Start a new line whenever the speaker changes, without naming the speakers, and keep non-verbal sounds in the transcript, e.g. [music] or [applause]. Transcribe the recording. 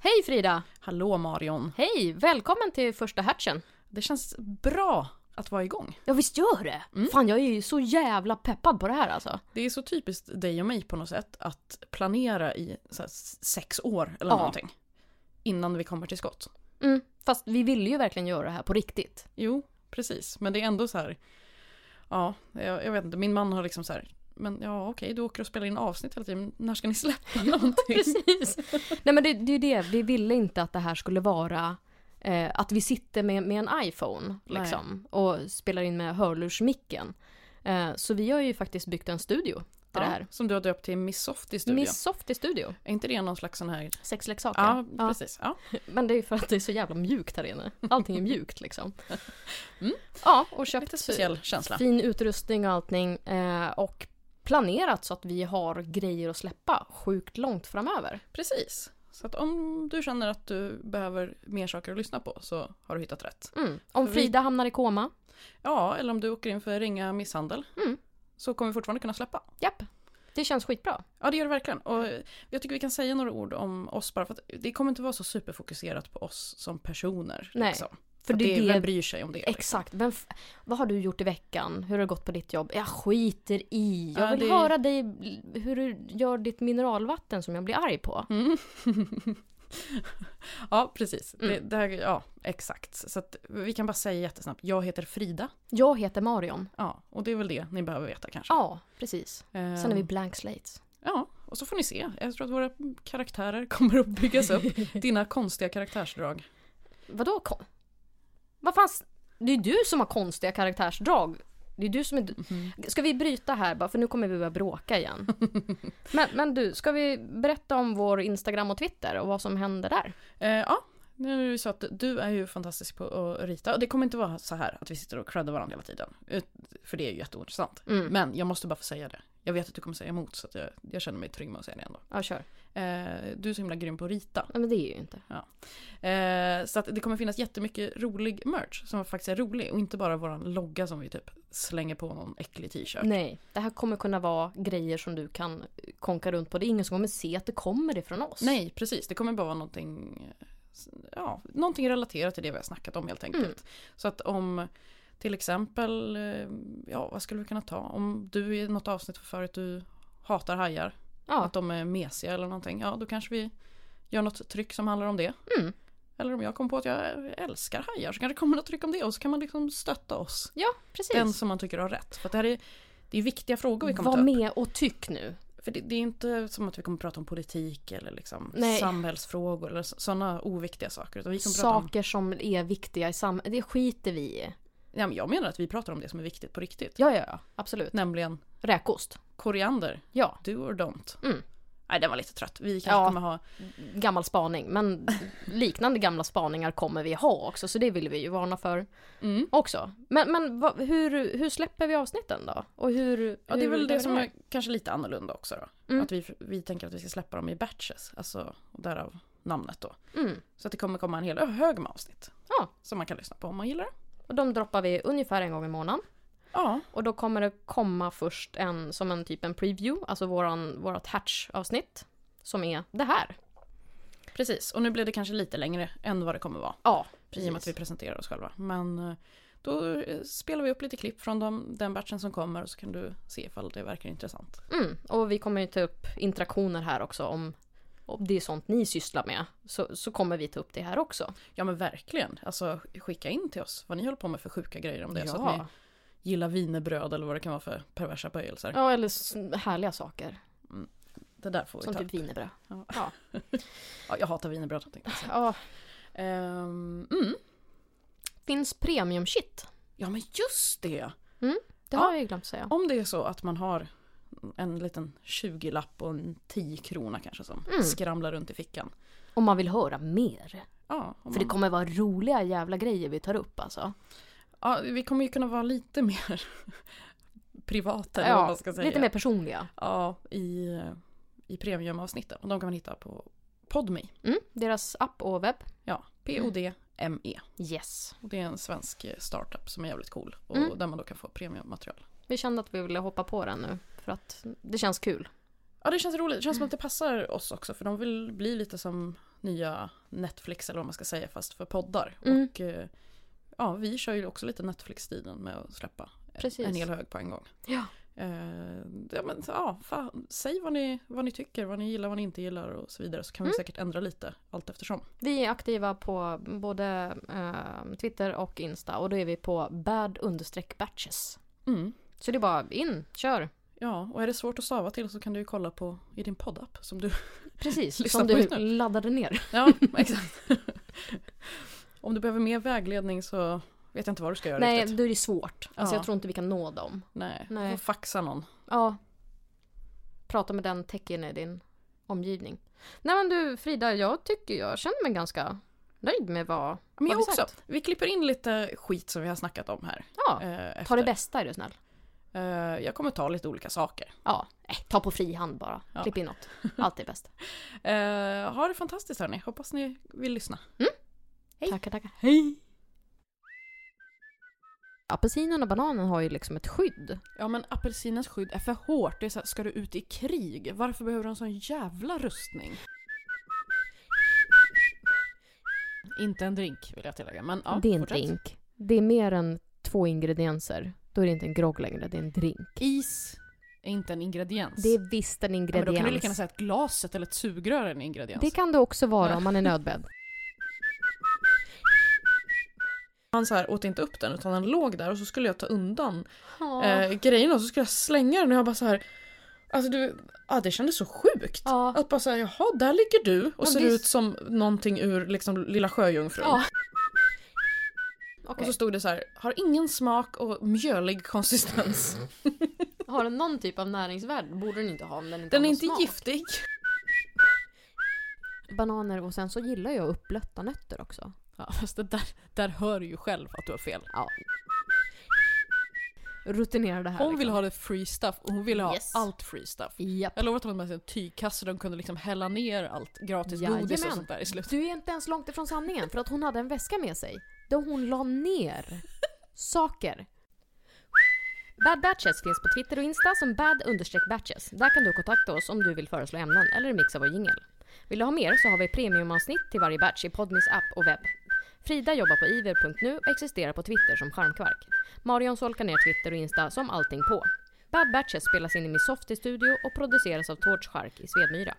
Hej Frida!
Hallå Marion.
Hej! Välkommen till första hatchen.
Det känns bra att vara igång.
Ja visst gör det! Fan jag är ju så jävla peppad på det här alltså.
Det är så typiskt dig och mig på något sätt att planera i så här, s- sex år eller
Ja.
någonting. Innan vi kommer till skott.
Mm. Fast vi ville ju verkligen göra det här på riktigt.
Jo, precis. Men det är ändå så här. Ja, jag, jag vet inte. Min man har liksom så här. Men ja, okej, du åker och spelar in avsnitt hela tiden. När ska ni släppa
[laughs]
någonting?
[laughs] Precis! Nej men det, det är ju det, vi ville inte att det här skulle vara eh, att vi sitter med, med en iPhone
Nej.
liksom, och spelar in med hörlursmicken. Eh, så vi har ju faktiskt byggt en studio till
Ja,
det här.
Som du har döpt till Miss Softy Studio.
Miss Softy Studio.
Är inte det någon slags sån här...
Sexleksaker.
Ja, precis. Ja.
Men det är ju för att det är så jävla mjukt här inne. Allting är mjukt [laughs] liksom. Mm. Ja, och köpt
Lite speciell känsla.
fin utrustning och allting. Eh, och planerat så att vi har grejer att släppa sjukt långt framöver.
Precis. Så att om du känner att du behöver mer saker att lyssna på så har du hittat rätt.
Mm. Om
Vi-
Frida hamnar i koma.
Ja, eller om du åker in för ringa misshandel.
Mm.
Så kommer vi fortfarande kunna släppa.
Japp. Det känns skitbra.
Ja, det gör det verkligen. Och jag tycker vi kan säga några ord om oss bara för att det kommer inte vara så superfokuserat på oss som personer.
Nej,
liksom.
För
Att
det
det,
är
Vem
det...
bryr sig om det? liksom?
Exakt. Vem f- vad har du gjort i veckan? Hur har det gått på ditt jobb? Jag skiter i. Jag
Ja,
vill
det-
höra dig hur du gör ditt mineralvatten som jag blir arg på.
Mm. [laughs] ja, precis.
Mm.
Det, det här, ja, exakt. Så att vi kan bara säga jättesnabbt. Jag heter Frida.
Jag heter Marion.
Ja, och det är väl det ni behöver veta kanske.
Ja, precis.
Ehm,
Sen är vi blank slates.
Ja, och så får ni se. Jag tror att våra karaktärer kommer att byggas upp. Dina konstiga karaktärsdrag.
Vadå kon... Vad fan... s- Det är du som har konstiga karaktärsdrag. Det är du som är... du- Ska vi bryta här bara, för nu kommer vi börja bråka
[laughs]
igen. men, men du, ska vi berätta om vår Instagram och Twitter och vad som händer där?
Eh, ja, nu är det ju så att du är ju fantastisk på att rita. Och det kommer inte vara så här att vi sitter och creddar varandra hela tiden. Ut- För det är ju jätteintressant.
Mm.
Men jag måste bara få säga det. Jag vet att du kommer säga emot så att jag, jag känner mig trygg med att säga det ändå.
Ja, kör.
Eh, du är så himla grym på att rita.
Nej, men det är ju inte.
Eh, så att det kommer finnas jättemycket rolig merch som faktiskt är rolig. Och inte bara våran logga som vi typ slänger på någon äcklig t-shirt.
Nej, det här kommer kunna vara grejer som du kan konka runt på. Det är ingen som kommer se att det kommer ifrån oss.
Nej, precis. Det kommer bara vara någonting, ja, någonting relaterat till det vi har snackat om helt enkelt.
Mm.
Så att om till exempel, eh, ja vad skulle vi kunna ta? Om du i något avsnitt för förut du hatar hajar,
Ja,
att de är mesiga eller någonting, ja då kanske vi gör något tryck som handlar om det.
Mm.
Eller om jag kom på att jag älskar hajar så kanske det kommer något tryck om det och så kan man liksom stötta oss.
ja precis.
Den som man tycker har rätt. För att det här är, det är viktiga frågor vi kommer
Var
ta upp.
med och tyck nu.
För det, det är inte som att vi kommer prata om politik eller liksom
Nej.
samhällsfrågor eller sådana oviktiga saker. Utan vi kommer prata om,
Saker som är viktiga i samhället, det skiter vi i.
ja, men jag menar att vi pratar om det som är viktigt på riktigt.
Ja, ja, ja. Absolut.
Nämligen
Räkost.
koriander,
Ja.
do or don't.
Mm.
Nej, den var lite trött. Vi kanske
Ja.
kommer ha...
gammal spaning,
[laughs]
men liknande gamla spaningar kommer vi ha också, så det vill vi ju varna för
Mm.
också. Men, men vad, hur, hur släpper vi avsnitten då? Och hur...
Ja, det är
hur
väl
gör
det
vi
som
här?
är kanske lite annorlunda också då.
Mm.
Att vi, vi tänker att vi ska släppa dem i batches, alltså och därav namnet då.
Mm.
Så att det kommer komma en hel hög med avsnitt.
Ja.
Som man kan lyssna på om man gillar det.
Och de droppar vi ungefär en gång i månaden.
Ja,
Och då kommer det komma först en, som en typ en preview, alltså våran, vårat hatch-avsnitt. Som är det här.
precis. Och nu blir det kanske lite längre än vad det kommer vara.
Ja,
I och med att vi
precis.
presenterar oss själva. Men eh, då eh, spelar vi upp lite klipp från de, den batchen som kommer och så kan du se ifall det verkar intressant.
Mm. Och vi kommer ju ta upp interaktioner här också om, om det är sånt ni sysslar med. Så, så kommer vi ta upp det här också.
Ja men verkligen. Alltså skicka in till oss vad ni håller på med för sjuka grejer om det. Så att
Ja.
ni gillar wienerbröd eller vad det kan vara för perversa böjelser.
ja, eller s- härliga saker.
Det där får vi
Som
ta.
typ wienerbröd.
Ja.
Ja.
Ja, jag hatar wienerbröd. tänkte jag säga.
ja.
Ehm, mm.
Finns premium-shit?
Ja men just det!
Det
Ja.
har jag ju glömt säga.
Om det är så att man har en liten 20-lapp och en 10-krona kanske som
Mm.
skramlar runt i fickan.
Om man vill höra mer.
Ja, om
För det
man-
kommer vara roliga jävla grejer vi tar upp alltså.
Ja, vi kommer ju kunna vara lite mer [laughs] privata eller vad
Ja,
man ska säga.
lite mer personliga.
Ja, i, i premiumavsnitten. Och de kan man hitta på Podme.
Mm, deras app och webb.
Ja, P-O-D-M-E.
Yes.
E. Och det är en svensk startup som är jävligt cool. Och
Mm.
där man då kan få premiummaterial.
Vi kände att vi ville hoppa på den nu. För att det känns kul.
Ja, det känns roligt. Det känns som att det passar oss också. För de vill bli lite som nya Netflix eller vad man ska säga fast för poddar.
Mm.
Och eh, ja, vi kör ju också lite Netflix-stilen med att släppa
Precis.
en hel hög på en gång.
Ja.
Eh, ja, men, ja, fan, säg vad ni, vad ni tycker, vad ni gillar, vad ni inte gillar och så vidare så kan
Mm.
vi säkert ändra lite allt eftersom.
Vi är aktiva på både eh, Twitter och Insta och då är vi på bad understreck batches.
Mm.
Så det är bara in, kör.
Ja, och är det svårt att stava till så kan du ju kolla på i din poddapp som du...
Precis,
Lyssna
som
på
du
just nu.
laddade ner.
Ja, [laughs] exakt. Om du behöver mer vägledning så vet jag inte vad du ska göra
Nej,
riktigt.
då är det svårt. Alltså
Ja.
jag tror inte vi kan nå dem.
Nej,
Nej.
Nej. Får faxa någon.
Ja. Prata med den tecken i din omgivning. Nej men du Frida, jag tycker jag känner mig ganska nöjd med vad...
Men jag
Har vi
också.
sagt?
Vi klipper in lite skit som vi har snackat om här.
Ja,
eh,
ta det
efter.
bästa är du snäll.
Eh, jag kommer ta lite olika saker.
Ja, eh, ta på fri hand bara.
Ja.
Klipp in
[laughs]
något. Allt är bäst.
Eh, ha det fantastiskt hörni. Hoppas ni vill lyssna. Hej.
Tackar, tackar.
Hej!
Apelsinen och bananen har ju liksom ett skydd.
Ja men apelsinens skydd är för hårt. Det är så här, ska du ut i krig? Varför behöver du en sån jävla rustning? Inte en drink vill jag tillägga. Men, ja,
det är en
fortsätt.
drink. Det är mer än två ingredienser. Då är det inte en grogg längre, det är en drink.
Is är inte en ingrediens.
Det är visst en
ja, men
ingrediens.
då kan du lika gärna säga att glaset eller ett sugrör är en ingrediens.
det kan det också vara
Ja.
om man är nödbedd.
Han så här åt inte upp den utan den låg där och så skulle jag ta undan [laughs] eh, grejen och så skulle jag slänga den och jag bara så här. Alltså du, ja det kändes så sjukt.
Ja.
Att bara säga jaha där ligger du och
Ja,
ser
visst.
ut som någonting ur liksom Lilla Sjöjungfrun.
Ja.
Och
Okej.
så stod det så här, har ingen smak och mjölig konsistens.
Har den någon typ av näringsvärde borde den inte ha om den inte
Den
har
är
någon
inte
smak.
giftig.
Bananer och sen så gillar jag uppblötta nötter också.
Ja fast det där, där hör du ju själv att du har fel.
Ja. Rutinerade här.
Hon vill ha det free stuff och hon vill ha
Yes.
allt free stuff.
Japp.
Jag lovar att hon hade med sig en tygkasse där de kunde liksom hälla ner allt gratis godis och
Jajamän.
sånt där i slutet.
Du är inte ens långt ifrån sanningen för att hon hade en väska med sig där hon la ner saker. Bad Batches finns på Twitter och Insta som bad-batches. Där kan du kontakta oss om du vill föreslå ämnen eller remixa vår jingel. Vill du ha mer så har vi premiumavsnitt till varje batch i Podmis app och webb. Frida jobbar på iver.nu och existerar på Twitter som Charmkvark. Marion solkar ner Twitter och Insta som allting på. Bad Batches spelas in i min Softie-studio och produceras av Torch Shark i Svedmyra.